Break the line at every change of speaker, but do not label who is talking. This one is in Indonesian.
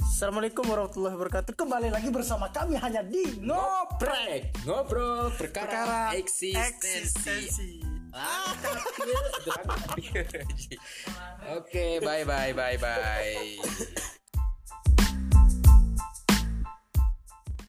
Assalamualaikum warahmatullahi wabarakatuh. Kembali lagi bersama kami hanya di
Ngoprek, ngobrol perkara,
Perkara
eksistensi.
Eksistensi.
Mantap, ya. Itu mantap. Oke, bye bye bye bye.